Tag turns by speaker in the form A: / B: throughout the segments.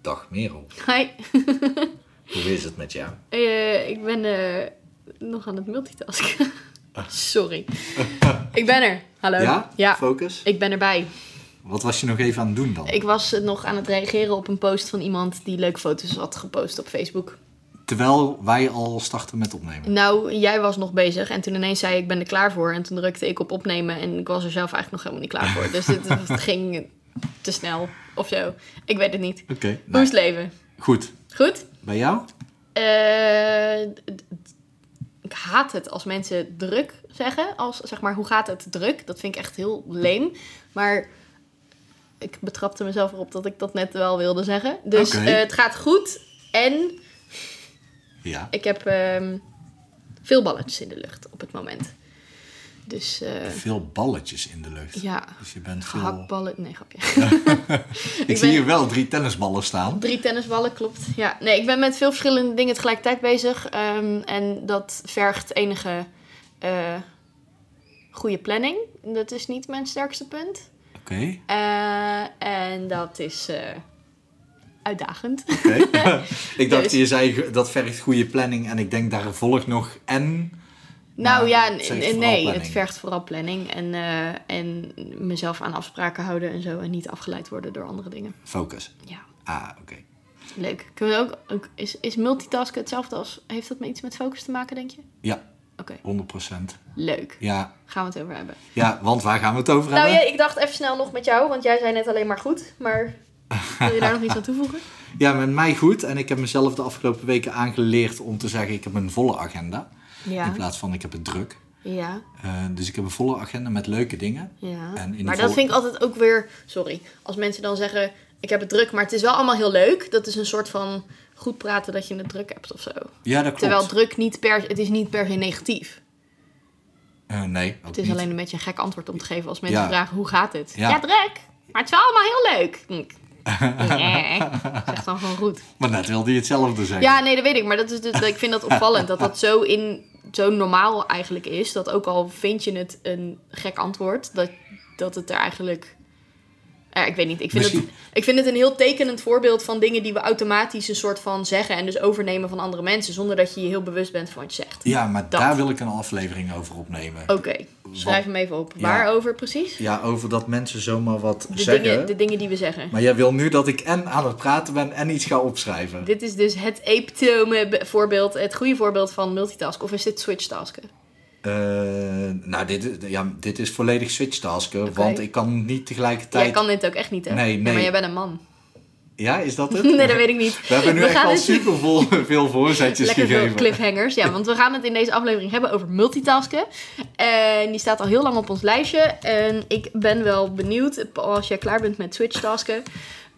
A: Dag Merel,
B: Hi,
A: hoe is het met jou?
B: Eh, ik ben eh, nog aan het multitasken. Sorry. ik ben er. Hallo.
A: Ja? Focus?
B: ik ben erbij.
A: Wat was je nog even aan het doen dan?
B: Ik was eh, nog aan het reageren op een post van iemand die leuke foto's had gepost op Facebook.
A: Terwijl wij al starten met opnemen.
B: Nou, jij was nog bezig en toen ineens zei je, ik ben er klaar voor. En toen drukte ik op opnemen en ik was er zelf eigenlijk nog helemaal niet klaar voor. Dus het, het ging te snel of zo. Ik weet het niet.
A: Oké.
B: Hoe
A: nou,
B: is het leven?
A: goed.
B: Goed?
A: Bij jou?
B: Eh, d- d- ik haat het als mensen druk zeggen. Als zeg maar, hoe gaat het druk? Dat vind ik echt heel leem. Maar ik betrapte mezelf erop dat ik dat net wel wilde zeggen. Dus
A: Oké.
B: eh, het gaat goed. En
A: Ja.
B: ik heb ehm, veel balletjes in de lucht op het moment. Dus eh,
A: Veel balletjes in de lucht.
B: ja,
A: Dus je bent veel...
B: gehaktballen. Nee, grapje.
A: Ik,
B: Ik
A: zie
B: ben-
A: hier wel drie tennisballen staan.
B: Drie tennisballen, klopt. Ja, nee, ik ben met veel verschillende dingen tegelijkertijd bezig. ehm, en dat vergt enige eh, goede planning. Dat is niet mijn sterkste punt.
A: Oké.
B: Eh, en dat is eh, uitdagend.
A: Oké. ik dacht,
B: Dus-
A: je zei dat vergt goede planning en ik denk daar volgt nog en...
B: nou ja,
A: het
B: n-
A: vergt vooral
B: n- nee,
A: planning.
B: het vergt vooral planning. En, eh, en mezelf aan afspraken houden en zo. En niet afgeleid worden door andere dingen.
A: Focus.
B: Ja,
A: Ah, oké.
B: leuk. Kunnen we ook, ook- is, is multitasken hetzelfde als... Heeft dat met iets met focus te maken, denk je?
A: Ja,
B: Oké,
A: 100%.
B: leuk.
A: Ja.
B: Gaan we het over hebben.
A: ja, want waar gaan we het over
B: Nou
A: hebben?
B: ja, ik dacht even snel nog met jou, want jij zei net alleen maar goed. Maar wil je daar nog iets aan toevoegen?
A: Ja, met mij goed. En ik heb mezelf de afgelopen weken aangeleerd om te zeggen: ik heb een volle agenda. In
B: Ja,
A: plaats van ik heb het druk.
B: ja,
A: Eh, dus ik heb een volle agenda met leuke dingen.
B: ja.
A: En in de
B: Maar
A: vol-
B: dat vind ik altijd ook weer, sorry, als mensen dan zeggen, ik heb het druk, maar het is wel allemaal heel leuk. Dat is een soort van goed praten dat je het druk hebt of zo.
A: Ja, dat klopt.
B: Terwijl druk niet per, het is niet per se negatief.
A: Eh, nee, ook
B: Het is
A: niet.
B: alleen een beetje een gek antwoord om te geven als mensen
A: Ja.
B: vragen, hoe gaat het?
A: Ja.
B: Ja. druk, maar het is wel allemaal heel leuk. Nee, zeg dan gewoon goed.
A: Maar net wilde je hetzelfde zeggen.
B: Ja, nee, dat weet ik. Maar dat is dus, ik vind dat opvallend. Dat dat zo, in, zo normaal eigenlijk is. Dat ook al vind je het een gek antwoord. Dat, dat het er eigenlijk... Eh, ik weet niet. Ik vind, het,
A: Misschien-
B: ik vind het een heel tekenend voorbeeld van dingen die we automatisch een soort van zeggen. En dus overnemen van andere mensen. Zonder dat je je heel bewust bent van wat je zegt.
A: Ja, maar
B: Dat.
A: daar wil ik een aflevering over opnemen.
B: Oké, schrijf hem even op.
A: Ja.
B: Waarover precies?
A: Ja, over dat mensen zomaar wat
B: De
A: zeggen.
B: dingen, de dingen die we zeggen.
A: Maar jij wil nu dat ik en aan het praten ben en iets ga opschrijven.
B: Dit is dus het epitome be- voorbeeld, het goede voorbeeld van multitasken. Of is dit switchtasken?
A: Eh, nou, dit, is- ja, dit is volledig switchtasken,
B: Oké.
A: want ik kan niet tegelijkertijd...
B: Jij kan dit ook echt niet, hè?
A: Nee, nee.
B: Maar jij bent een man.
A: Ja, is dat het?
B: Nee, dat weet ik niet.
A: We hebben nu
B: We
A: echt
B: gaan
A: al
B: het-
A: super vol, veel voorzetjes
B: Lekker veel
A: gegeven.
B: cliffhangers. Ja, want we gaan het in deze aflevering hebben over multitasken. En die staat al heel lang op ons lijstje. En ik ben wel benieuwd, als jij klaar bent met switchtasken,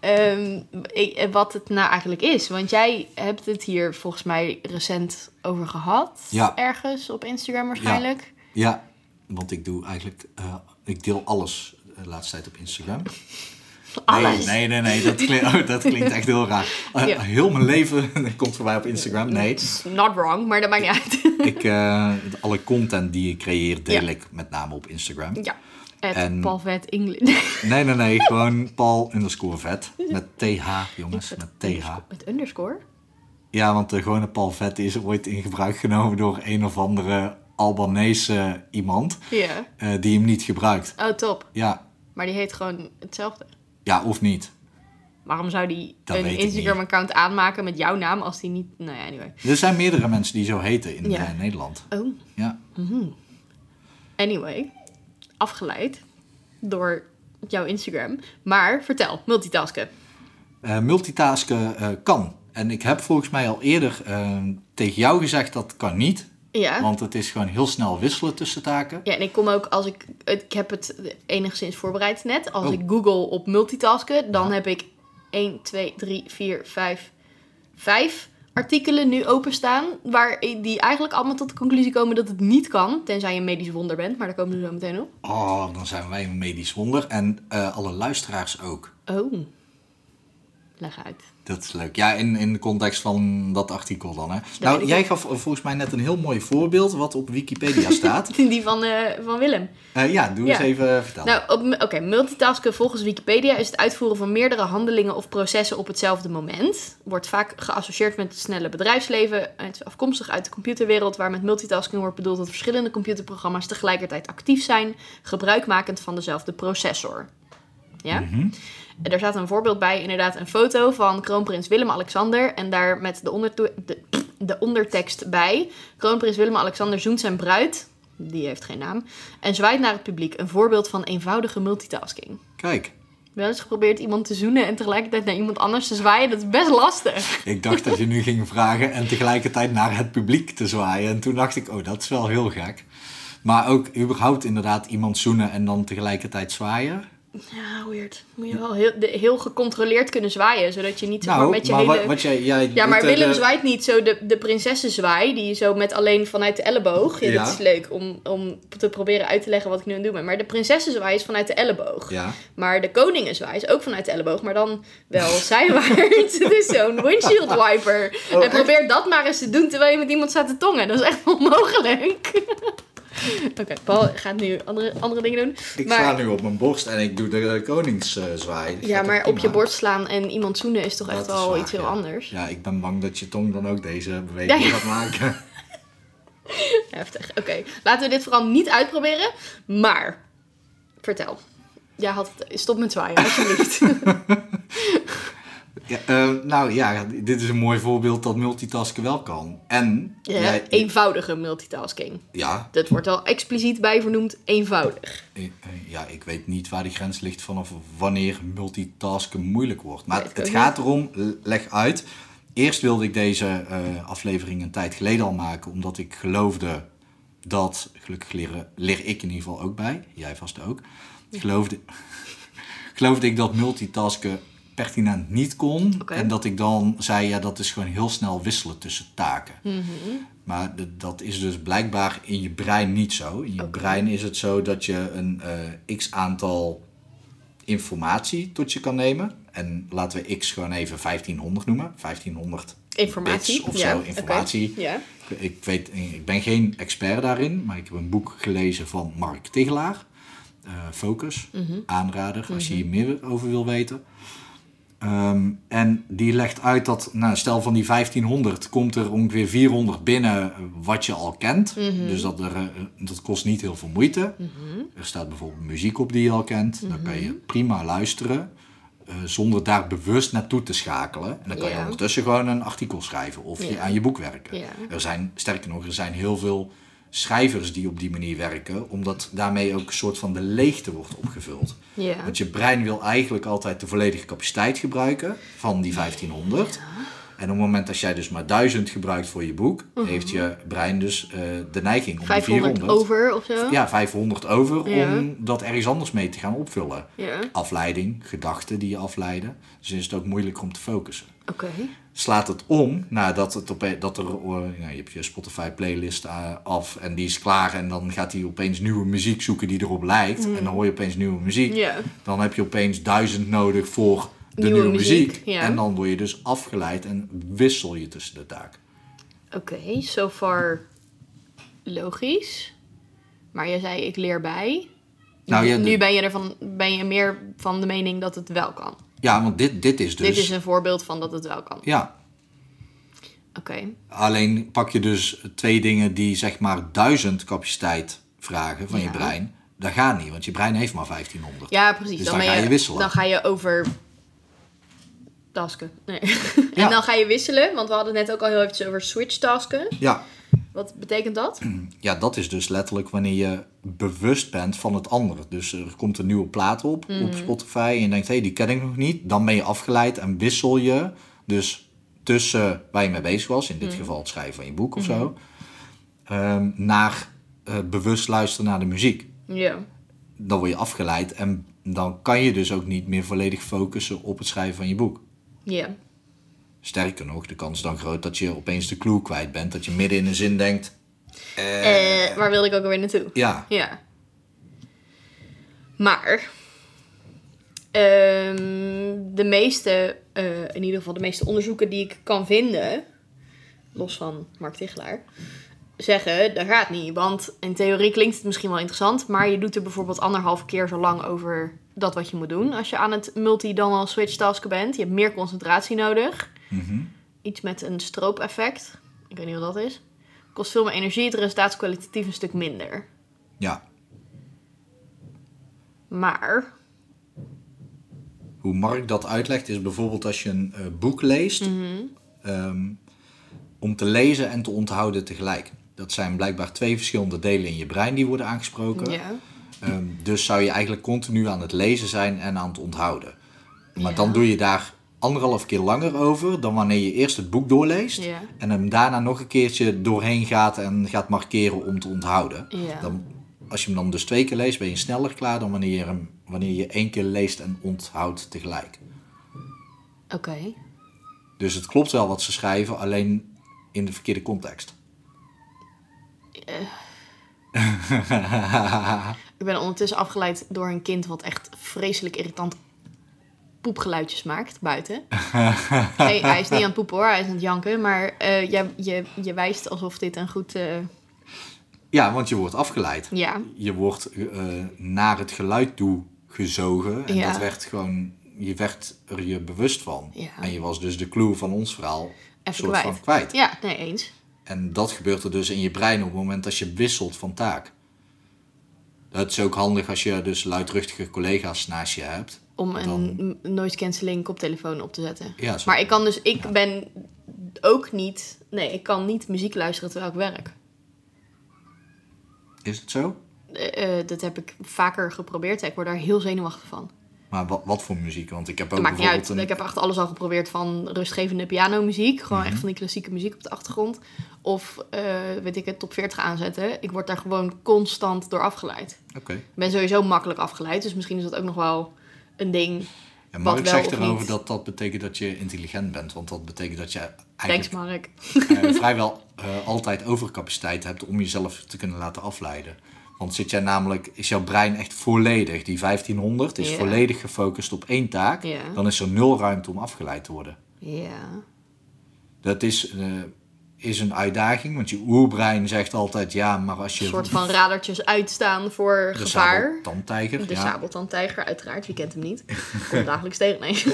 B: ehm, ik- eh, wat het nou eigenlijk is. Want jij hebt het hier volgens mij recent over gehad.
A: Ja.
B: Ergens op Instagram waarschijnlijk.
A: Ja, want ik doe eigenlijk, eh, ik deel alles eh, de laatste tijd op Instagram.
B: Alles.
A: Nee, nee, nee, nee, dat, klinkt, oh, dat klinkt echt heel raar. Eh,
B: Ja.
A: Heel mijn leven komt voorbij op Instagram. Nee,
B: Not wrong, maar dat maakt niet uit.
A: ik, eh, alle content die ik creëer deel
B: Ja.
A: ik met name op Instagram.
B: ja. Het
A: En-
B: Palvet England.
A: Nee, nee, nee, gewoon Paul underscore vet. Met TH, jongens, met TH.
B: Met underscore?
A: Ja, want de gewone Paul vet is ooit in gebruik genomen door een of andere Albanese iemand
B: Ja.
A: eh, die hem niet gebruikt.
B: Oh, top.
A: Ja,
B: Maar die heet gewoon hetzelfde.
A: ja of niet.
B: Waarom zou die
A: Dat
B: een
A: weet ik
B: Instagram-account aanmaken met jouw naam als die niet... Nou ja, anyway.
A: Er zijn meerdere mensen die zo heten in
B: Ja.
A: eh, Nederland.
B: Oh.
A: Ja.
B: Anyway. Afgeleid door jouw Instagram. Maar vertel, multitasken.
A: Eh, multitasken eh, kan. En ik heb volgens mij al eerder eh, tegen jou gezegd dat kan niet.
B: Ja.
A: Want het is gewoon heel snel wisselen tussen taken.
B: Ja, en ik kom ook als ik... Ik heb het enigszins voorbereid net. Als
A: Oh.
B: ik google op multitasken, dan heb ik 1, 2, 3, 4, 5, 5 artikelen nu openstaan. Waar die eigenlijk allemaal tot de conclusie komen dat het niet kan. Tenzij je een medisch wonder bent, maar daar komen we zo meteen op.
A: Oh, dan zijn wij een medisch wonder. En eh, alle luisteraars ook.
B: Oh. Leg uit.
A: Dat is leuk. Ja, in, in de context van dat artikel dan. Hè? Nou,
B: ik
A: jij gaf eh, volgens mij net een heel mooi voorbeeld wat op Wikipedia staat.
B: Die van, eh, van Willem.
A: Eh, ja, doe eens
B: Ja.
A: even eh, vertellen.
B: Nou, op- oké, multitasken volgens Wikipedia is het uitvoeren van meerdere handelingen of processen op hetzelfde moment. Wordt vaak geassocieerd met het snelle bedrijfsleven. eh, Het is afkomstig uit de computerwereld, waar met multitasking wordt bedoeld dat verschillende computerprogramma's tegelijkertijd actief zijn, gebruikmakend van dezelfde processor. Ja? En daar staat een voorbeeld bij, inderdaad, een foto van kroonprins Willem-Alexander. En daar met de, onderto- de, de ondertekst bij. Kroonprins Willem-Alexander zoent zijn bruid, die heeft geen naam, en zwaait naar het publiek. Een voorbeeld van eenvoudige multitasking.
A: Kijk,
B: Wel eens geprobeerd iemand te zoenen en tegelijkertijd naar iemand anders te zwaaien. Dat is best lastig.
A: ik dacht dat je nu ging vragen en tegelijkertijd naar het publiek te zwaaien. En toen dacht ik, oh, dat is wel heel gek. Maar ook überhaupt inderdaad iemand zoenen en dan tegelijkertijd zwaaien.
B: Ja, weird. Moet je wel heel, de- heel gecontroleerd kunnen zwaaien, zodat je niet zeg maar,
A: nou,
B: met je
A: maar
B: hele...
A: wat, wat jij... jij
B: Ja, maar
A: doet, eh,
B: Willem
A: de-
B: zwaait niet zo de, de prinsessenzwaai, die je zo met alleen vanuit de elleboog. Ja,
A: Ja.
B: Dat is leuk om, om te proberen uit te leggen wat ik nu aan het doen ben. Maar de prinsessenzwaai is vanuit de elleboog.
A: Ja.
B: Maar de koningenzwaai is ook vanuit de elleboog, maar dan wel zijwaarts. Het is zo'n windshield wiper.
A: Oh,
B: en probeer dat maar eens te doen terwijl je met iemand staat te tongen. Dat is echt onmogelijk. Oké, Paul gaat nu andere, andere dingen doen.
A: Ik
B: maar-
A: sla nu op mijn borst en ik doe de koningszwaai.
B: Ja, maar op je borst slaan en iemand zoenen is toch echt
A: Dat is
B: wel
A: waar,
B: iets heel
A: ja.
B: anders.
A: Ja, ik ben bang dat je tong dan ook deze beweging
B: Ja, ja.
A: gaat maken.
B: Heftig. Oké, laten we dit vooral niet uitproberen. Maar, vertel. Jij had het... Stop met zwaaien, alsjeblieft.
A: Ja, eh, nou ja, dit is een mooi voorbeeld dat multitasken wel kan. En
B: Ja,
A: jij-
B: Eenvoudige multitasking.
A: ja,
B: Dat wordt al expliciet bij vernoemd eenvoudig.
A: eh, eh, ja, ik weet niet waar die grens ligt vanaf wanneer multitasken moeilijk wordt. Maar
B: Weet ik
A: het
B: ook
A: gaat erom, l- leg uit. Eerst wilde ik deze eh, aflevering een tijd geleden al maken, omdat ik geloofde dat, gelukkig leren, leer ik in ieder geval ook bij, jij vast ook, geloofde, geloofde ik dat multitasken pertinent niet kon.
B: Oké.
A: En dat ik dan zei, ja, dat is gewoon heel snel wisselen tussen taken. Maar d- dat is dus blijkbaar in je brein niet zo. In je brein is het zo dat je een eh, x aantal informatie tot je kan nemen. En laten we x gewoon even 1500 noemen. 1500
B: Informatie.
A: bits of
B: ja,
A: zo,
B: oké.
A: informatie.
B: Ja.
A: Ik- Ik, weet, ik ben geen expert daarin, maar ik heb een boek gelezen van Mark Tigelaar. Eh, Focus,
B: Mhm.
A: aanrader, als je hier meer over wil weten. Ehm, en die legt uit dat, nou, stel van die 1500 komt er ongeveer 400 binnen eh, wat je al kent.
B: Mhm.
A: Dus dat, er, eh, dat kost niet heel veel moeite. Er staat bijvoorbeeld muziek op die je al kent. Dan
B: Mhm.
A: kan je prima luisteren eh, zonder daar bewust naartoe te schakelen. En dan kan je
B: Ja.
A: ondertussen gewoon een artikel schrijven of je
B: Ja.
A: aan je boek werken.
B: Ja.
A: Er zijn, sterker nog, er zijn heel veel schrijvers die op die manier werken, omdat daarmee ook een soort van de leegte wordt opgevuld.
B: Ja.
A: Want je brein wil eigenlijk altijd de volledige capaciteit gebruiken van die 1500. En op het moment dat jij dus maar 1000 gebruikt voor je boek,
B: Mhm.
A: heeft je brein dus eh, de neiging om die
B: 500
A: 400
B: over of zo.
A: ja, 500 over
B: Ja.
A: om dat ergens anders mee te gaan opvullen.
B: Ja.
A: Afleiding, gedachten die je afleiden. Dus is het ook moeilijk om te focussen.
B: Oké.
A: Slaat het om nadat het op, dat er, eh, nou, je hebt je Spotify playlist eh, af en die is klaar. En dan gaat hij opeens nieuwe muziek zoeken die erop lijkt. En dan hoor je opeens nieuwe muziek.
B: Mm. Ja.
A: Dan heb je opeens duizend nodig voor de
B: Nieuwe
A: nieuwe, muziek.
B: muziek, ja.
A: En dan word je dus afgeleid en wissel je tussen de taken.
B: Oké, so far logisch. Maar jij zei ik leer bij.
A: Nou, ja,
B: nu
A: de-
B: ben je, ervan, ben je meer van de mening dat het wel kan.
A: Ja, want dit, dit is dus...
B: Dit is een voorbeeld van dat het wel kan.
A: Ja,
B: Oké.
A: Alleen pak je dus twee dingen die zeg maar duizend capaciteit vragen van
B: Ja.
A: je brein. Dat gaat niet, want je brein heeft maar 1500.
B: Ja, precies.
A: Dus
B: dan
A: dan
B: ben
A: ga je wisselen.
B: Dan ga je over tasken. Nee.
A: Ja.
B: En dan ga je wisselen, want we hadden het net ook al heel even over switch tasken.
A: Ja.
B: Wat betekent dat?
A: ja, dat is dus letterlijk wanneer je bewust bent van het andere. Dus er komt een nieuwe plaat op op Spotify en je denkt, hé, hey, die ken ik nog niet. Dan ben je afgeleid en wissel je dus tussen waar je mee bezig was, in dit geval het schrijven van je boek of zo, ehm, naar eh, bewust luisteren naar de muziek.
B: Ja.
A: dan word je afgeleid en dan kan je dus ook niet meer volledig focussen op het schrijven van je boek.
B: Ja.
A: Sterker nog, de kans is dan groot dat je opeens de clue kwijt bent, dat je midden in een zin denkt,
B: Eh, waar wilde ik ook alweer naartoe?
A: ja,
B: Ja. Maar. eh, Ehm, de meeste, eh, in ieder geval de meeste onderzoeken die ik kan vinden, los van Mark Tichelaar, zeggen dat gaat niet. Want in theorie klinkt het misschien wel interessant, maar je doet er bijvoorbeeld anderhalf keer zo lang over dat wat je moet doen. Als je aan het multi dan al switch tasken bent, je hebt meer concentratie nodig.
A: Mhm.
B: Iets met een stroopeffect, ik weet niet wat dat is. Kost veel meer energie, het resultaat is kwalitatief een stuk minder.
A: Ja,
B: Maar
A: hoe Mark dat uitlegt is bijvoorbeeld als je een eh, boek leest, ehm, om te lezen en te onthouden tegelijk. Dat zijn blijkbaar twee verschillende delen in je brein die worden aangesproken.
B: ja.
A: Ehm, dus zou je eigenlijk continu aan het lezen zijn en aan het onthouden. Maar
B: Ja.
A: dan doe je daar anderhalf keer langer over dan wanneer je eerst het boek doorleest
B: Ja.
A: en hem daarna nog een keertje doorheen gaat en gaat markeren om te onthouden.
B: Ja.
A: Dan, als je hem dan dus twee keer leest, ben je sneller klaar dan wanneer je, hem, wanneer je één keer leest en onthoudt tegelijk.
B: Oké.
A: Dus het klopt wel wat ze schrijven, alleen in de verkeerde context.
B: Eh. Ik ben ondertussen afgeleid door een kind wat echt vreselijk irritant poepgeluidjes maakt buiten. nee, hij is niet aan het poepen hoor, hij is aan het janken. Maar eh, jij- je, je wijst alsof dit een goed... eh,
A: Ja, want je wordt afgeleid.
B: ja,
A: je wordt eh, naar het geluid toe gezogen. En
B: Ja.
A: dat werd gewoon, je werd er je bewust van.
B: Ja.
A: En je was dus de clue van ons verhaal een
B: even
A: soort
B: kwijt.
A: van kwijt.
B: Ja, nee, eens.
A: En dat gebeurt er dus in je brein op het moment dat je wisselt van taak. Dat is ook handig als je dus luidruchtige collega's naast je hebt.
B: Om een
A: Dan-
B: noise cancelling koptelefoon op te zetten.
A: Ja, zo-
B: Maar ik kan dus, ik ben ook niet... Nee, ik kan niet muziek luisteren terwijl ik werk.
A: Is het zo?
B: Eh, eh, dat heb ik vaker geprobeerd. en Ik word daar heel zenuwachtig van.
A: Maar wat, wat voor muziek? Want ik heb ook
B: Dat maakt niet
A: bijvoorbeeld
B: uit. Ik heb echt alles al geprobeerd van rustgevende pianomuziek. Gewoon
A: Mhm.
B: echt van die klassieke muziek op de achtergrond. Of, eh, weet ik het, top 40 aanzetten. Ik word daar gewoon constant door afgeleid.
A: een... Oké.
B: Ik ben sowieso makkelijk afgeleid. Dus misschien is dat ook nog wel een ding.
A: En Mark
B: wel
A: zegt
B: of
A: erover
B: niet.
A: dat dat betekent dat je intelligent bent. Want dat betekent dat je
B: Thanks,
A: eigenlijk
B: Mark.
A: eh, vrijwel eh, altijd overcapaciteit hebt om jezelf te kunnen laten afleiden. Want zit jij namelijk, is jouw brein echt volledig, die 1500 is
B: Ja.
A: volledig gefocust op één taak,
B: Ja.
A: dan is er nul ruimte om afgeleid te worden.
B: Ja.
A: Dat is, eh, is een uitdaging, want je oerbrein zegt altijd ja, maar als je.
B: Een soort van radertjes uitstaan voor
A: de
B: gevaar.
A: sabeltandtijger,
B: De
A: ja.
B: sabeltandtijger, uiteraard. Wie kent hem niet? Komt dagelijks tegen. Nee,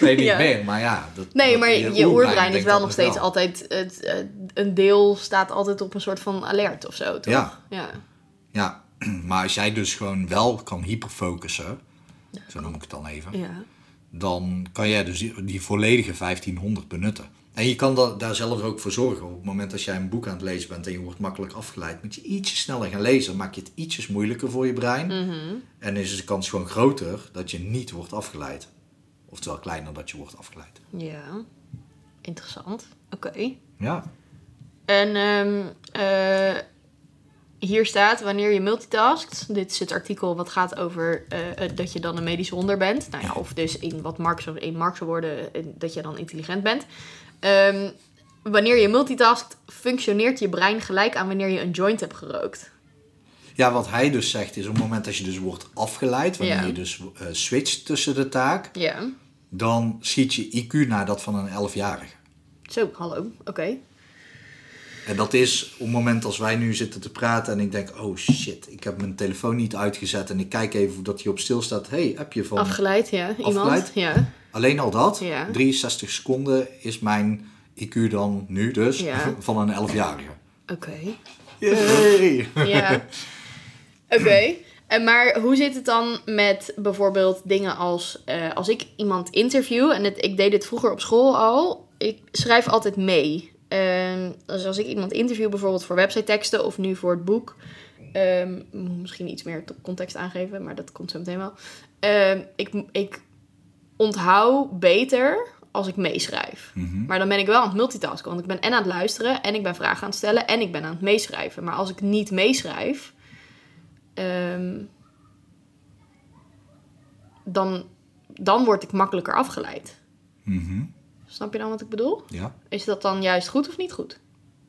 A: Nee, niet
B: Ja.
A: meer, maar ja. dat-
B: nee
A: dat-
B: maar je, oerbrein is
A: denkt
B: wel
A: nou, dat
B: nog
A: het
B: steeds altijd... Het, eh, een deel staat altijd op een soort van alert of zo, toch?
A: Ja.
B: Ja.
A: Ja, maar als jij dus gewoon wel kan hyperfocussen, zo noem ik het dan even.
B: ja.
A: dan kan jij dus die, die volledige 1500 benutten. En je kan da- daar zelf ook voor zorgen. Op het moment dat jij een boek aan het lezen bent en je wordt makkelijk afgeleid, moet je ietsje sneller gaan lezen. Maak je het ietsjes moeilijker voor je brein. En is de kans gewoon groter dat je niet wordt afgeleid. Oftewel kleiner dat je wordt afgeleid.
B: Ja, interessant. Oké.
A: Ja.
B: En ehm, eh, hier staat wanneer je multitaskt. Dit is het artikel wat gaat over eh, eh, dat je dan een medische honder bent. Nou ja, of dus in wat Mark zou, in Mark zou worden, eh, dat je dan intelligent bent. Ehm, wanneer je multitaskt, functioneert je brein gelijk aan wanneer je een joint hebt gerookt.
A: Ja, wat hij dus zegt is op het moment dat je dus wordt afgeleid, wanneer
B: Ja.
A: je dus eh, switcht tussen de taak,
B: Ja.
A: dan schiet je IQ naar dat van een 11-jarige.
B: Zo, hallo. Oké.
A: En dat is op het moment als wij nu zitten te praten en ik denk, oh shit, ik heb mijn telefoon niet uitgezet en ik kijk even dat hij op stil staat. hey, heb je van...
B: Afgeleid, ja. Iemand.
A: Afgeleid?
B: Ja.
A: Alleen al dat,
B: Ja.
A: 63 seconden is mijn IQ dan nu dus
B: Ja.
A: van een 11-jarige.
B: Oké.
A: Yay!
B: Ja. Oké. En maar hoe zit het dan met bijvoorbeeld dingen als eh, als ik iemand interview en het, ik deed dit vroeger op school al, ik schrijf altijd mee. Ehm, dus als ik iemand interview bijvoorbeeld voor website teksten of nu voor het boek, ehm, ik moet misschien iets meer context aangeven, maar dat komt zo meteen wel. Ehm, ik, ik onthoud beter als ik meeschrijf.
A: Mhm.
B: Maar dan ben ik wel aan het multitasken. Want ik ben en aan het luisteren, en ik ben vragen aan het stellen, en ik ben aan het meeschrijven. Maar als ik niet meeschrijf, ehm, dan, dan word ik makkelijker afgeleid.
A: Mhm,
B: Snap je dan wat ik bedoel?
A: Ja.
B: Is dat dan juist goed of niet goed?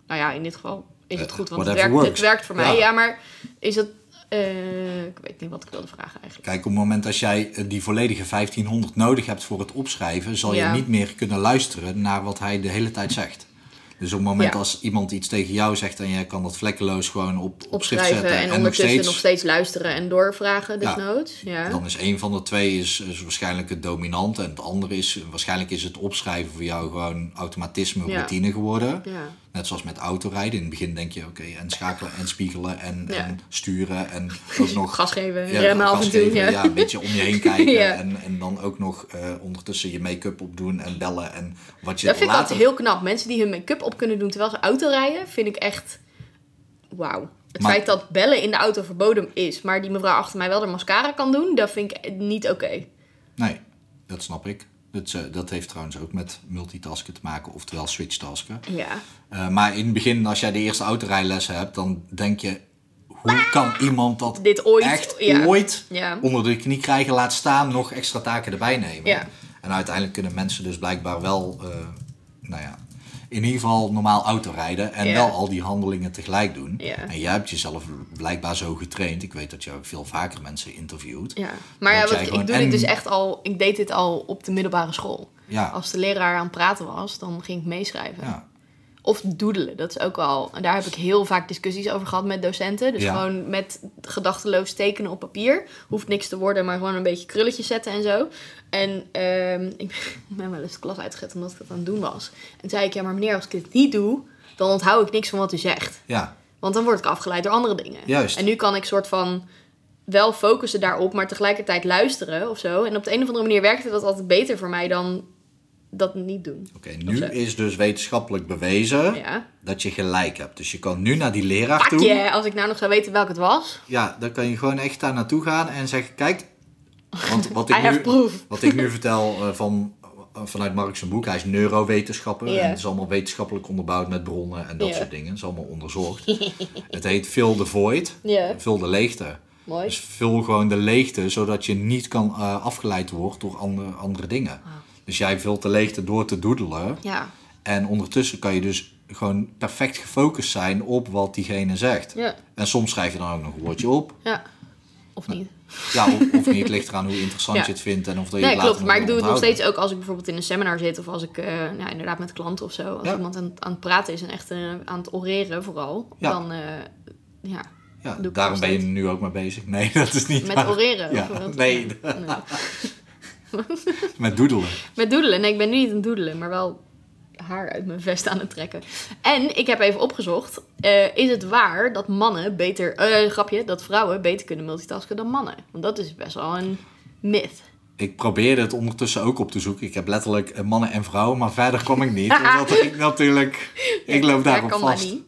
B: Nou ja, in dit geval is het
A: Eh,
B: goed, want het
A: whatever
B: werkt, het
A: works.
B: werkt voor mij.
A: Ja.
B: Ja, maar is het Eh, ik weet niet wat ik wilde vragen eigenlijk.
A: Kijk, op het moment dat jij eh, die volledige 1500 nodig hebt voor het opschrijven, zal
B: Ja.
A: je niet meer kunnen luisteren naar wat hij de hele tijd zegt. Dus op het moment
B: Ja.
A: als iemand iets tegen jou zegt en jij kan dat vlekkeloos gewoon op, op schrift
B: Opschrijven
A: zetten
B: en,
A: en, nog
B: ondertussen
A: steeds,
B: luisteren en doorvragen,
A: Ja.
B: desnoods. Ja.
A: dan is een van de twee is, is waarschijnlijk het dominant en het andere is, waarschijnlijk is het opschrijven voor jou gewoon automatisme,
B: Ja.
A: routine geworden.
B: Ja.
A: Net zoals met autorijden. In het begin denk je, oké, en schakelen en spiegelen en,
B: Ja.
A: en sturen en ook nog...
B: Gas geven,
A: Ja,
B: remmen af
A: gas
B: en toe.
A: geven,
B: Ja.
A: een beetje om je heen kijken.
B: Ja.
A: en, en dan ook nog eh, ondertussen je make-up opdoen en bellen. En wat je
B: Dat vind ik
A: later...
B: altijd heel knap. Mensen die hun make-up op kunnen doen terwijl ze auto rijden, vind ik echt wauw. Het
A: Maar-
B: feit dat bellen in de auto verboden is, maar die mevrouw achter mij wel de mascara kan doen, dat vind ik niet oké.
A: Nee, dat snap ik. Dat, eh, dat heeft trouwens ook met multitasken te maken, oftewel switchtasken.
B: Ja.
A: Eh, maar in het begin, als jij de eerste autorijlessen hebt, dan denk je... Hoe kan iemand dat
B: Dit ooit,
A: echt
B: ja.
A: ooit
B: Ja.
A: onder de knie krijgen, laat staan, nog extra taken erbij nemen?
B: Ja.
A: En uiteindelijk kunnen mensen dus blijkbaar wel, eh, nou ja, in ieder geval normaal autorijden en
B: Ja.
A: wel al die handelingen tegelijk doen.
B: Ja.
A: En jij hebt jezelf blijkbaar zo getraind. Ik weet dat je ook veel vaker mensen interviewt.
B: ja. Maar ja,
A: Dat
B: wat,
A: jij
B: ik
A: gewoon
B: doe
A: en-
B: dit dus echt al, ik deed dit al op de middelbare school.
A: Ja.
B: Als de leraar aan het praten was, dan ging ik meeschrijven.
A: Ja.
B: Of doedelen, dat is ook wel. En daar heb ik heel vaak discussies over gehad met docenten. Dus
A: Ja.
B: gewoon met gedachteloos tekenen op papier. Hoeft niks te worden, maar gewoon een beetje krulletjes zetten en zo. En ehm, ik ben wel eens de klas uitgezet omdat ik dat aan het doen was. En toen zei ik, ja maar meneer, als ik dit niet doe, dan onthoud ik niks van wat u zegt.
A: ja.
B: Want dan word ik afgeleid door andere dingen.
A: Juist.
B: En nu kan ik soort van wel focussen daarop, maar tegelijkertijd luisteren of zo. En op de een of andere manier werkte dat altijd beter voor mij dan dat niet doen.
A: Oké,
B: Of
A: nu
B: zo.
A: is dus wetenschappelijk bewezen
B: Ja.
A: dat je gelijk hebt. Dus je kan nu naar die leraar
B: Pak
A: toe.
B: je, als ik nou nog zou weten welk het was.
A: Ja, dan kan je gewoon echt daar naartoe gaan en zeggen, kijk, want wat ik
B: I have
A: nu,
B: proof.
A: wat ik nu vertel eh, van, eh, vanuit Mark zijn boek, hij is neurowetenschapper
B: Ja.
A: en het is allemaal wetenschappelijk onderbouwd met bronnen en dat
B: Ja.
A: soort dingen. Het is allemaal onderzocht. het heet Fill the Void,
B: Ja.
A: vul de leegte.
B: Mooi.
A: Dus vul gewoon de leegte, zodat je niet kan eh, afgeleid wordt door andere, andere dingen.
B: Ah.
A: Dus jij vult de leegte door te doedelen
B: Ja.
A: en ondertussen kan je dus gewoon perfect gefocust zijn op wat diegene zegt.
B: Ja.
A: En soms schrijf je dan ook nog een woordje op.
B: ja. Of niet.
A: Ja, of, of niet. Het ligt eraan hoe interessant
B: Ja.
A: je het vindt en of dat je
B: Nee,
A: het later
B: klopt.
A: nog
B: Maar ik
A: wil
B: doe het nog
A: onthouden.
B: steeds ook als ik bijvoorbeeld in een seminar zit. Of als ik eh, nou, inderdaad met klanten of zo. Als
A: Ja.
B: iemand aan, aan het praten is en echt eh, aan het oreren vooral.
A: Ja.
B: Dan, eh, ja.
A: Ja,
B: doe ik
A: daarom
B: nog
A: ben je
B: steeds.
A: nu ook mee bezig. Nee, dat is niet
B: Met
A: waar.
B: oreren.
A: Ja,
B: bijvoorbeeld.
A: nee.
B: Ja, nee.
A: Met doedelen.
B: Met doedelen. Nee, ik ben nu niet aan het doedelen, maar wel haar uit mijn vest aan het trekken. En ik heb even opgezocht. eh, is het waar dat mannen beter... eh grapje, dat vrouwen beter kunnen multitasken dan mannen? Want dat is best wel een myth.
A: Ik probeerde het ondertussen ook op te zoeken. Ik heb letterlijk eh, mannen en vrouwen, maar verder kwam ik niet. Omdat ik natuurlijk... Ik loop daarop
B: kan
A: vast.
B: maar niet.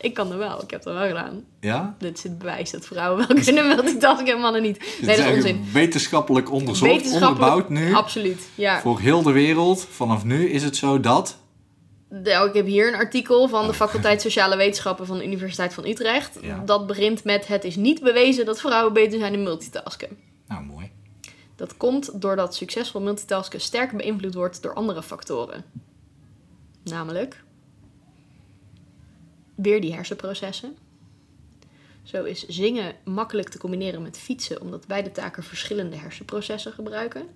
B: Ik kan er wel. Ik heb dat wel gedaan.
A: Ja?
B: Dit is het bewijs dat vrouwen wel kunnen multitasken en mannen niet. Nee, dat
A: het
B: is
A: is
B: onzin.
A: echt wetenschappelijk onderzocht,
B: Wetenschappelijk-
A: onderbouwd nu.
B: Absoluut, ja.
A: Voor heel de wereld, vanaf nu is het zo dat...
B: Nou, ik heb hier een artikel van de faculteit Sociale Wetenschappen van de Universiteit van Utrecht.
A: Ja.
B: Dat begint met het is niet bewezen dat vrouwen beter zijn in multitasken.
A: Nou, mooi.
B: Dat komt doordat succesvol multitasken sterk beïnvloed wordt door andere factoren. Namelijk weer die hersenprocessen. Zo is zingen makkelijk te combineren met fietsen omdat beide taken verschillende hersenprocessen gebruiken.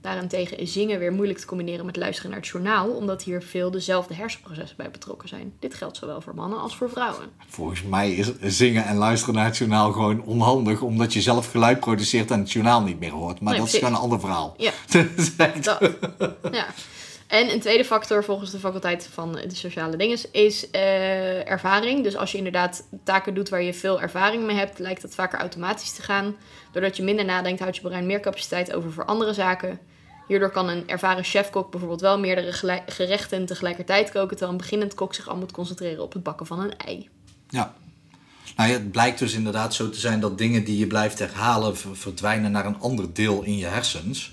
B: Daarentegen is zingen weer moeilijk te combineren met luisteren naar het journaal omdat hier veel dezelfde hersenprocessen bij betrokken zijn. Dit geldt zowel voor mannen als voor vrouwen.
A: Volgens mij is zingen en luisteren naar het journaal gewoon onhandig, omdat je zelf geluid produceert en het journaal niet meer hoort. Maar
B: Nee,
A: dat is
B: precies.
A: gewoon een ander verhaal.
B: Ja.
A: Dat is echt-
B: Dat. ja. En een tweede factor volgens de faculteit van de sociale dinges is eh, ervaring. Dus als je inderdaad taken doet waar je veel ervaring mee hebt, lijkt dat vaker automatisch te gaan. Doordat je minder nadenkt, houdt je brein meer capaciteit over voor andere zaken. Hierdoor kan een ervaren chefkok bijvoorbeeld wel meerdere gele- gerechten tegelijkertijd koken, terwijl een beginnend kok zich al moet concentreren op het bakken van een ei.
A: ja. Nou ja, het blijkt dus inderdaad zo te zijn dat dingen die je blijft herhalen ver- verdwijnen naar een ander deel in je hersens.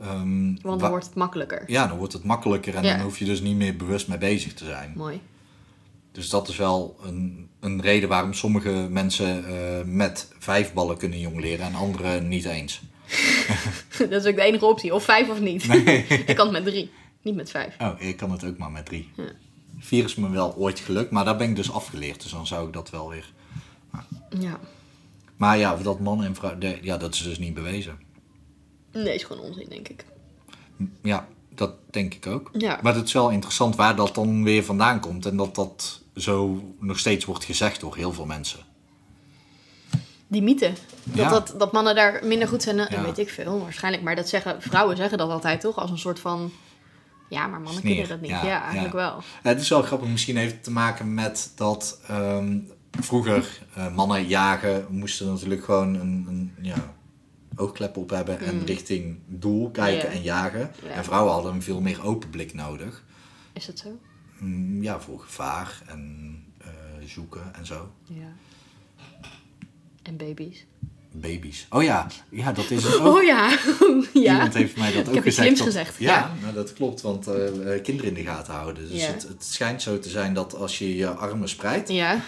A: Ehm,
B: Want
A: wa-
B: dan wordt het makkelijker.
A: Ja, dan wordt het makkelijker en
B: Ja.
A: dan hoef je dus niet meer bewust mee bezig te zijn.
B: Mooi.
A: Dus dat is wel een, een reden waarom sommige mensen eh, met vijf ballen kunnen jong leren en anderen niet eens.
B: dat is ook de enige optie. Of vijf of niet. ik kan het met drie, niet met vijf.
A: Oh, ik kan het ook maar met drie. Vier is me wel ooit gelukt, maar daar ben ik dus afgeleerd. Dus dan zou ik dat wel weer.
B: Ja.
A: Maar ja, dat man en vrouw, de- ja, dat is dus niet bewezen.
B: Nee, is gewoon onzin, denk ik.
A: Ja, dat denk ik ook.
B: Ja.
A: Maar het is wel interessant waar dat dan weer vandaan komt. En dat dat zo nog steeds wordt gezegd door heel veel mensen.
B: Die mythe. Dat,
A: Ja.
B: dat, dat mannen daar minder goed zijn dan,
A: Ja.
B: weet ik veel, waarschijnlijk. Maar dat zeggen, vrouwen zeggen dat altijd toch? Als een soort van, ja, maar mannen
A: Sneer.
B: kunnen dat niet.
A: Ja,
B: Ja,
A: ja.
B: eigenlijk wel.
A: Ja, het is wel grappig. Misschien heeft het te maken met dat ehm, vroeger eh, mannen jagen moesten natuurlijk gewoon een, een ja, oogklep op hebben en richting doel kijken
B: Mm. Ja.
A: en jagen.
B: Ja.
A: En vrouwen hadden een veel meer open blik nodig.
B: Is dat zo?
A: Mm, Ja, voor gevaar en eh, zoeken en zo.
B: Ja. En baby's.
A: Baby's. Oh ja, ja dat is het ook.
B: Oh ja. ja.
A: Iemand heeft mij dat ook
B: heb iets
A: gezegd.
B: slims
A: dat-
B: gezegd,
A: Ja,
B: ja.
A: nou, dat klopt, want eh, eh, kinderen in de gaten houden. Dus
B: Ja.
A: het, het schijnt zo te zijn dat als je je armen spreidt,
B: Ja,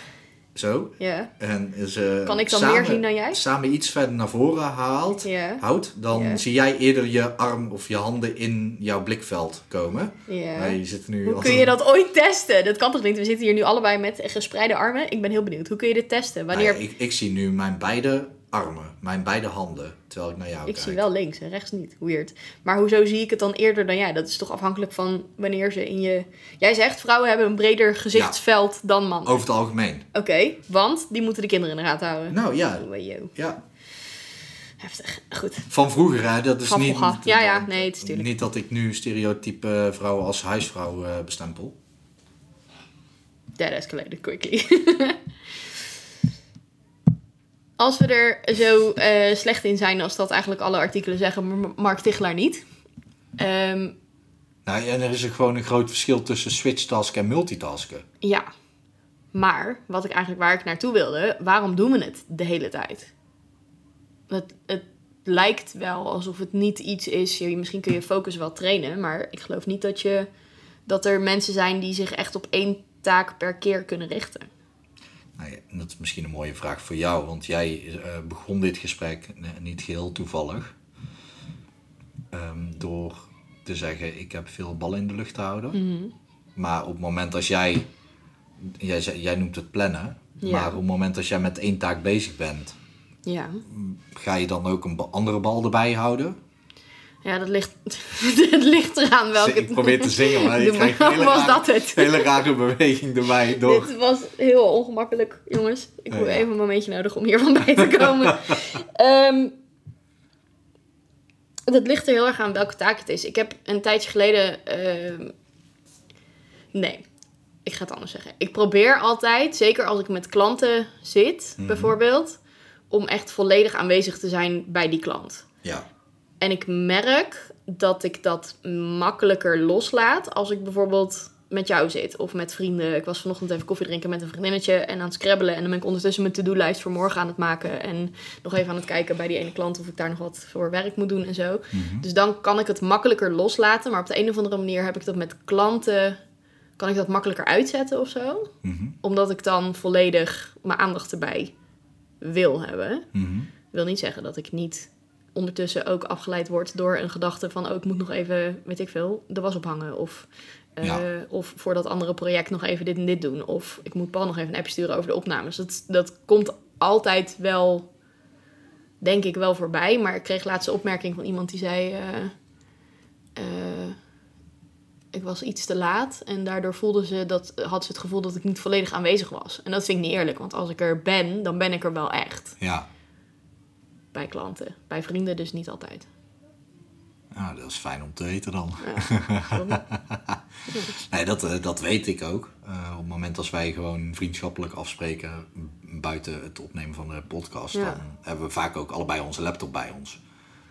A: zo,
B: ja,
A: en ze
B: Kan ik dan
A: samen,
B: meer zien dan jij?
A: samen iets verder naar voren haalt,
B: Ja.
A: houdt, dan
B: Ja.
A: zie jij eerder je arm of je handen in jouw blikveld komen.
B: ja.
A: Maar je zit nu
B: Hoe
A: al-
B: kun je dat ooit testen? Dat kan toch niet? We zitten hier nu allebei met gespreide armen. Ik ben heel benieuwd. Hoe kun je dit testen?
A: Nou
B: Wanneer...
A: ja, ik, ik zie nu mijn beide armen, mijn beide handen, terwijl ik naar jou
B: ik
A: kijk.
B: zie wel links en rechts niet. Weird. Maar hoezo zie ik het dan eerder dan jij? Dat is toch afhankelijk van wanneer ze in je... Jij zegt vrouwen hebben een breder gezichtsveld dan mannen.
A: Over het algemeen.
B: Oké, want die moeten de kinderen in de gaten houden.
A: Nou ja,
B: Oh, yo.
A: ja.
B: Heftig. Goed.
A: van vroeger, hè, dat is
B: Van
A: niet,
B: vroeger. Ja, ja, nee, het is tuurlijk.
A: niet dat ik nu stereotype eh, vrouwen als huisvrouw eh, bestempel.
B: That escalated quickly. als we er zo eh, slecht in zijn als dat eigenlijk alle artikelen zeggen, maar Mark Tichelaar niet. Ehm,
A: Nou, en er is ook gewoon een groot verschil tussen switchtasken en multitasken.
B: ja. Maar, wat ik eigenlijk waar ik naartoe wilde, waarom doen we het de hele tijd? Het, het lijkt wel alsof het niet iets is. je- Misschien kun je focus wel trainen, maar ik geloof niet dat, je, dat er mensen zijn die zich echt op één taak per keer kunnen richten.
A: Nou ja, en dat is misschien een mooie vraag voor jou, want jij eh, begon dit gesprek eh, niet geheel toevallig. ehm, door te zeggen, ik heb veel ballen in de lucht te houden.
B: Mhm.
A: Maar op het moment als jij, jij, zei- jij noemt het plannen,
B: Ja.
A: maar op het moment als jij met één taak bezig bent,
B: Ja.
A: ga je dan ook een ba- andere bal erbij houden?
B: Ja, dat ligt, het ligt eraan welke...
A: Ik probeer te zingen, maar ik
B: Doe
A: krijg
B: maar.
A: een hele
B: Was
A: rare,
B: dat het?
A: hele rare beweging erbij door.
B: Dit was heel ongemakkelijk, jongens. Ik
A: Ja,
B: heb
A: ja.
B: even een momentje nodig om hiervan bij te komen. Ehm, dat ligt er heel erg aan welke taak het is. Ik heb een tijdje geleden... ehm, nee, ik ga het anders zeggen. Ik probeer altijd, zeker als ik met klanten zit,
A: Mhm.
B: bijvoorbeeld... om echt volledig aanwezig te zijn bij die klant.
A: Ja,
B: En ik merk dat ik dat makkelijker loslaat als ik bijvoorbeeld met jou zit of met vrienden. Ik was vanochtend even koffie drinken met een vriendinnetje en aan het scrabbelen. En dan ben ik ondertussen mijn to-do-lijst voor morgen aan het maken. En nog even aan het kijken bij die ene klant of ik daar nog wat voor werk moet doen en zo.
A: Mhm,
B: Dus dan kan ik het makkelijker loslaten. Maar op de een of andere manier heb ik dat met klanten. Kan ik dat makkelijker uitzetten of zo?
A: Mhm.
B: Omdat ik dan volledig mijn aandacht erbij wil hebben
A: mhm.
B: wil niet zeggen dat ik niet ondertussen ook afgeleid word door een gedachte van... oh, ik moet nog even, weet ik veel, de was ophangen. Of, eh,
A: Ja.
B: of voor dat andere project nog even dit en dit doen. Of ik moet Paul nog even een app sturen over de opnames. Dat, dat komt altijd wel, denk ik, wel voorbij. Maar ik kreeg laatst een opmerking van iemand die zei... eh, eh, ik was iets te laat en daardoor voelden ze dat, had ze het gevoel dat ik niet volledig aanwezig was. En dat vind ik niet eerlijk, want als ik er ben, dan ben ik er wel echt
A: ja.
B: bij klanten. Bij vrienden dus niet altijd.
A: Nou, dat is fijn om te weten dan.
B: Waarom?
A: Nee, dat, eh, dat weet ik ook. Eh, op het moment als wij gewoon vriendschappelijk afspreken m, buiten het opnemen van de podcast,
B: Ja.
A: dan hebben we vaak ook allebei onze laptop bij ons.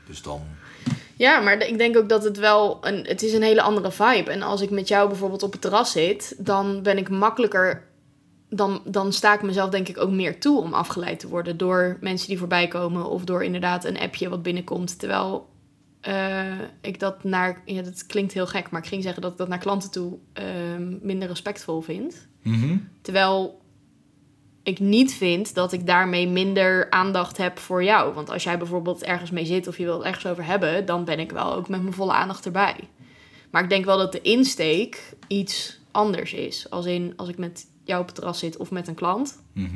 A: Dus dan.
B: ja, maar ik denk ook dat het wel een, het is een hele andere vibe. En als ik met jou bijvoorbeeld op het terras zit, dan ben ik makkelijker. Dan, dan sta ik mezelf denk ik ook meer toe om afgeleid te worden door mensen die voorbij komen of door inderdaad een appje wat binnenkomt. Terwijl eh, ik dat naar, ja, dat klinkt heel gek, maar ik ging zeggen dat ik dat naar klanten toe ehm, minder respectvol vind.
A: Mhm.
B: Terwijl ik niet vind dat ik daarmee minder aandacht heb voor jou. Want als jij bijvoorbeeld ergens mee zit of je wilt ergens over hebben, dan ben ik wel ook met mijn volle aandacht erbij. Maar ik denk wel dat de insteek iets anders is. Als in als ik met jou op het terras zit of met een klant,
A: mhm.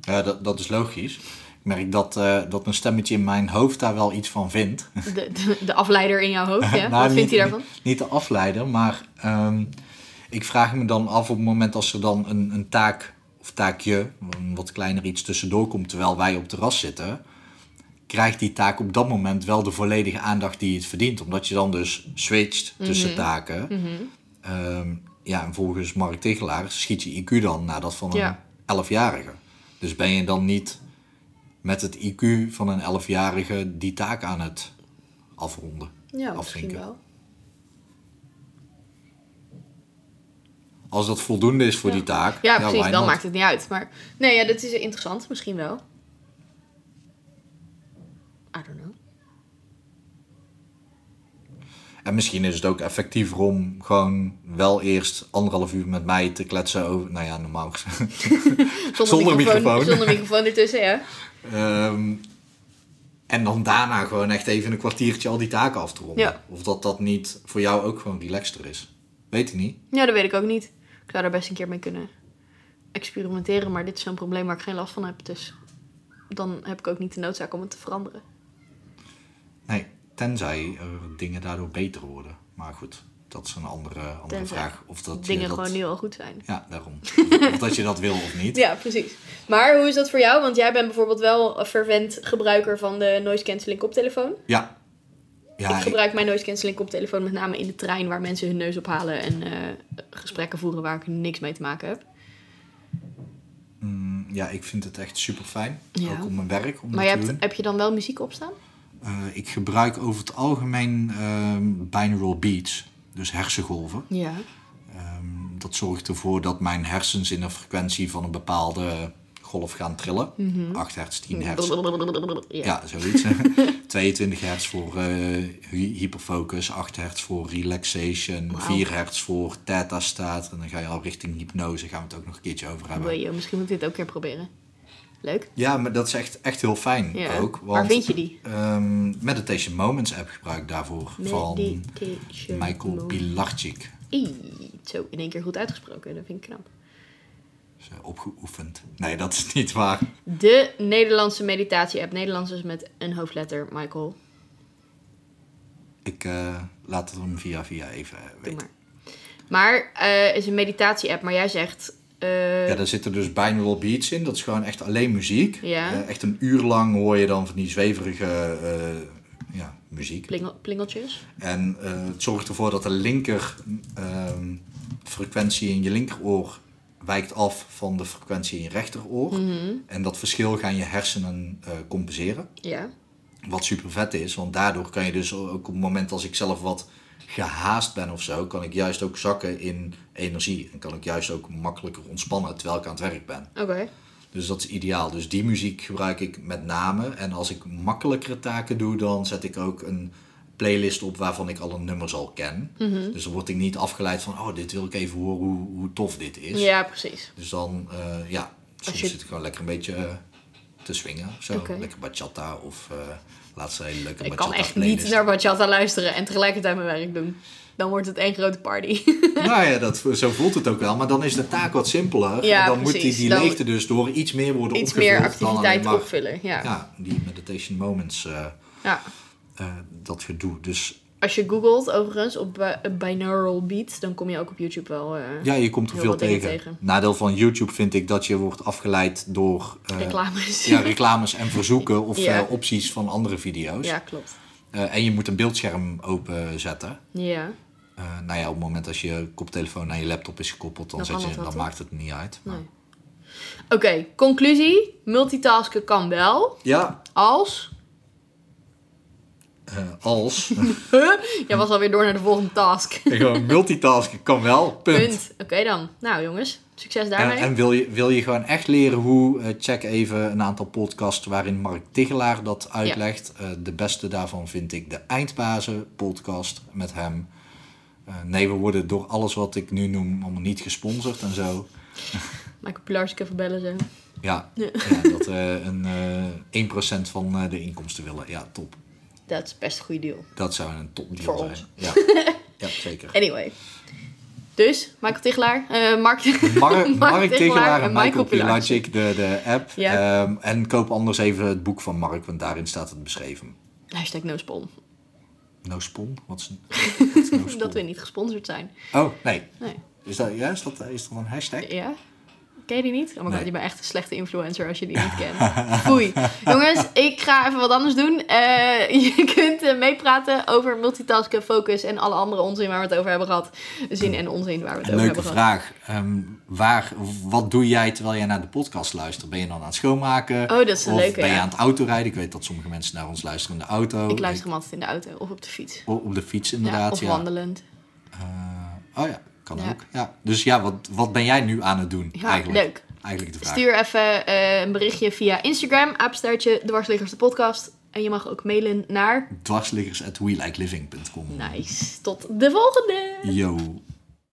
A: Ja, dat, dat is logisch. Ik merk dat, eh, dat een stemmetje in mijn hoofd daar wel iets van vindt.
B: De, de, de afleider in jouw hoofd, hè?
A: Nou,
B: Wat vindt
A: niet-
B: hij daarvan?
A: Niet de afleider, maar ehm, ik vraag me dan af op het moment als er dan een, een taak of taakje, een wat kleiner iets tussendoor komt terwijl wij op het terras zitten, krijgt die taak op dat moment wel de volledige aandacht die het verdient. Omdat je dan dus switcht tussen
B: Mhm.
A: taken. Ehm, ja, en volgens Mark Tegelaar schiet je IQ dan naar dat van een
B: Ja.
A: 11-jarige. Dus ben je dan niet met het IQ van een 11-jarige die taak aan het afronden.
B: Ja, misschien
A: Afvinken.
B: wel.
A: Als dat voldoende is voor
B: Ja.
A: die taak.
B: Ja, precies.
A: why
B: Dan
A: not?
B: maakt het niet uit. Maar nee, ja, dat is interessant. Misschien wel. I don't know.
A: En misschien is het ook effectiever om gewoon wel eerst anderhalf uur met mij te kletsen over. Nou ja, normaal gezegd.
B: Zonder,
A: Zonder microfoon.
B: Zonder microfoon ertussen, ja.
A: Ehm, en dan daarna gewoon echt even een kwartiertje al die taken af te ronden.
B: Ja.
A: Of dat dat niet voor jou ook gewoon relaxter is. Weet ik niet.
B: Ja, dat weet ik ook niet. Ik zou daar best een keer mee kunnen experimenteren. Maar dit is zo'n probleem waar ik geen last van heb. Dus dan heb ik ook niet de noodzaak om het te veranderen.
A: Nee, tenzij er dingen daardoor beter worden. Maar goed, dat is een andere, andere
B: Tenzij
A: vraag. Of dat je
B: Dingen
A: dat...
B: gewoon nu al goed zijn.
A: Ja, daarom. of dat je dat wil of niet.
B: Ja, precies. Maar hoe is dat voor jou? Want jij bent bijvoorbeeld wel een fervent gebruiker van de noise cancelling koptelefoon.
A: Ja. Ja,
B: ik
A: ik-
B: gebruik mijn noise cancelling koptelefoon met name in de trein waar mensen hun neus ophalen en eh, gesprekken voeren waar ik niks mee te maken heb.
A: Mm, ja, ik vind het echt super fijn.
B: Ja.
A: Ook op mijn werk. Om
B: Maar
A: dat
B: je
A: te
B: hebt,
A: doen.
B: heb je dan wel muziek opstaan?
A: Eh, ik gebruik over het algemeen ehm, binaural beats, dus hersengolven.
B: Ja.
A: Ehm, dat zorgt ervoor dat mijn hersens in een frequentie van een bepaalde golf gaan trillen.
B: Mhm.
A: 8 hertz,
B: Mm,
A: 10 hertz.
B: Ja.
A: Ja, zoiets. 22 hertz voor eh, hy- hyperfocus, 8 hertz voor relaxation,
B: Wauw.
A: 4 hertz voor theta staat. En dan ga je al richting hypnose, gaan we het ook nog een keertje over hebben.
B: Wil je- Misschien moet ik dit ook een keer proberen. Leuk.
A: Ja, maar dat is echt, echt heel fijn
B: Ja.
A: ook.
B: Waar
A: Want
B: vind je die?
A: ehm, Meditation Moments app gebruik ik daarvoor van
B: Meditation
A: Michael
B: Mo-
A: Pilarczyk.
B: Ie, Zo, in één keer goed uitgesproken. Dat vind ik knap.
A: Dus, eh, opgeoefend. Nee, dat is niet waar.
B: De Nederlandse meditatie-app. Nederlands is met een hoofdletter, Michael.
A: Ik eh, laat het hem via via even eh,
B: Doe
A: weten.
B: maar. Maar eh is een meditatie-app, maar jij zegt... eh,
A: Ja, daar zitten dus binaural beats in. Dat is gewoon echt alleen muziek.
B: Ja.
A: Eh, echt een uur lang hoor je dan van die zweverige eh, ja, muziek.
B: plingel- plingeltjes.
A: En eh, het zorgt ervoor dat de linker ehm, frequentie in je linkeroor wijkt af van de frequentie in je rechteroor.
B: Mhm.
A: En dat verschil gaan je hersenen eh, compenseren.
B: Ja.
A: Wat super vet is, want daardoor kan je dus ook op het moment als ik zelf wat gehaast ben of zo, kan ik juist ook zakken in energie. En kan ik juist ook makkelijker ontspannen terwijl ik aan het werk ben.
B: Oké.
A: Dus dat is ideaal. Dus die muziek gebruik ik met name. En als ik makkelijkere taken doe, dan zet ik ook een playlist op waarvan ik alle nummers al ken. Dus dan word ik niet afgeleid van, oh, dit wil ik even horen hoe, hoe tof dit is.
B: Ja, precies.
A: Dus dan, eh, ja, soms
B: je-
A: zit ik gewoon lekker een beetje eh, te swingen of zo.
B: Oké.
A: Lekker bachata of eh laatst een hele leuke
B: Ik
A: bachata dus.
B: kan echt
A: playlist.
B: niet naar bachata luisteren en tegelijkertijd mijn werk doen. Dan wordt het één grote party.
A: Nou ja, dat, zo voelt het ook wel. Maar dan is de taak wat simpeler.
B: Ja,
A: en dan moet
B: precies.
A: die, die
B: Dan-
A: leegte dus door iets meer worden
B: Iets
A: opgevuld
B: meer
A: dan alleen
B: activiteit
A: maar...
B: opvullen. Ja. ja.
A: Ja, die meditation moments... eh, eh, dat gedoe. Dus
B: Als je googelt, overigens, op bi- binaural beat, dan kom je ook op YouTube wel... eh,
A: ja, je komt er
B: Heel
A: veel
B: wat dingen
A: tegen.
B: tegen.
A: Nadeel van YouTube vind ik dat je wordt afgeleid door eh,
B: reclames.
A: ja, reclames en verzoeken of
B: Ja.
A: eh, opties van andere video's.
B: Ja, klopt.
A: Eh, en je moet een beeldscherm openzetten.
B: Ja,
A: Eh nou ja, op het moment dat je koptelefoon naar je laptop is gekoppeld, dan,
B: Dan
A: zet
B: kan
A: je,
B: dat wel,
A: dan
B: toch?
A: maakt het niet uit.
B: nee. Oké, conclusie. Multitasken kan wel,
A: Ja,
B: als...
A: eh, als.
B: Jij was alweer door naar de volgende task.
A: Gewoon multitasken kan wel, punt.
B: Punt. Oké dan. Nou jongens, succes daarmee.
A: En, en wil, je, wil je gewoon echt leren hoe, eh, check even een aantal podcasts waarin Mark Tigelaar dat uitlegt. Eh, de beste daarvan vind ik de Eindbazen podcast met hem. Eh, nee, we worden door alles wat ik nu noem allemaal niet gesponsord en zo.
B: Michael Pilarczyk even bellen zo.
A: Ja,
B: Ja.
A: ja. dat eh een eh 1% van eh, de inkomsten willen. Ja, top.
B: Dat is best een goede deal.
A: Dat zou een topdeal
B: Voor
A: zijn.
B: ons.
A: Ja. ja, zeker.
B: Anyway. Dus, Michael Tichelaar, eh, Mark,
A: Mark, Mark
B: Mark
A: Tegelaar
B: Tegelaar
A: en Michael Pilacic, de, de app.
B: Ja.
A: Ehm, en koop anders even het boek van Mark, want daarin staat het beschreven.
B: hashtag no spon.
A: No spon? Wat is een, wat is no spon?
B: Dat we niet gesponsord zijn.
A: Oh, nee.
B: Nee.
A: Is dat, ja, is, dat, is dat een hashtag?
B: Ja? Ken je die niet? Oh my god,
A: Nee.
B: je bent echt een slechte influencer als je die niet kent. Foei. Jongens, ik ga even wat anders doen. Eh, je kunt eh, meepraten over multitasken, focus en alle andere onzin waar we het over hebben gehad. Zin en onzin waar we het
A: Een
B: over
A: leuke
B: hebben gehad.
A: vraag. Ehm, waar, wat doe jij terwijl jij naar de podcast luistert? Ben je dan aan het schoonmaken?
B: Oh, dat is een
A: of
B: leuke,
A: ben je
B: ja.
A: aan het autorijden? Ik weet dat sommige mensen naar ons luisteren in de auto.
B: Ik luister hem altijd in de auto of op de fiets.
A: O- op de fiets
B: Ja,
A: inderdaad.
B: of
A: Ja,
B: wandelend.
A: Eh, oh ja, kan
B: Ja.
A: ook. Ja. Dus ja, wat, wat ben jij nu aan het doen
B: Ja,
A: eigenlijk?
B: leuk.
A: Eigenlijk de vraag.
B: Stuur even eh, een berichtje via Instagram, apenstaartje, dwarsliggers de podcast. En je mag ook mailen naar...
A: Dwarsliggers at we like living punt com.
B: Nice. Tot de volgende!
A: Yo.